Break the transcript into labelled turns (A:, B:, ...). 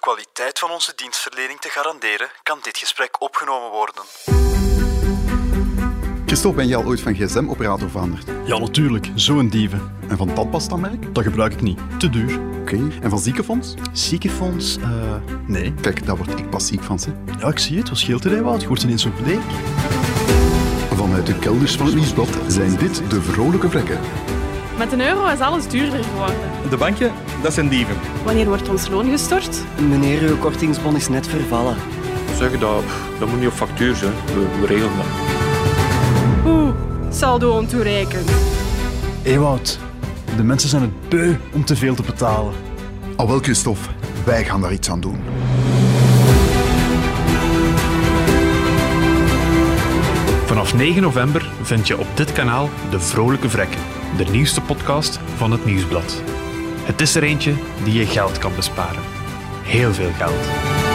A: kwaliteit van onze dienstverlening te garanderen, kan dit gesprek opgenomen worden.
B: Christophe, ben jij al ooit van gsm-operator veranderd?
C: Ja, natuurlijk. Zo'n dieven.
B: En van tandpastamerk?
C: Dat gebruik ik niet. Te duur.
B: Oké. En van ziekenfonds?
C: Ziekenfonds? Eh, nee.
B: Kijk, daar word ik pas ziek van, hè.
C: Ja, ik zie het. Wat scheelt er, hè, Wout? Je wordt ineens zo bleek.
B: Vanuit de kelders van het nieuwsblad zijn dit de vrolijke vlekken.
D: Met een euro is alles duurder geworden.
E: De bankje, dat zijn dieven.
D: Wanneer wordt ons loon gestort?
F: Meneer, uw kortingsbon is net vervallen.
G: zeggen dat, pff, dat moet niet op factuur zijn. We, we regelen dat.
D: Oeh, saldo ontoereikend.
C: Hé, Wout. De mensen zijn het beu om te veel te betalen.
B: Al wel, Christophe, wij gaan daar iets aan doen.
H: Vanaf 9 november vind je op dit kanaal De Vrolijke Vrekken, de nieuwste podcast van het Nieuwsblad. Het is er eentje die je geld kan besparen. Heel veel geld.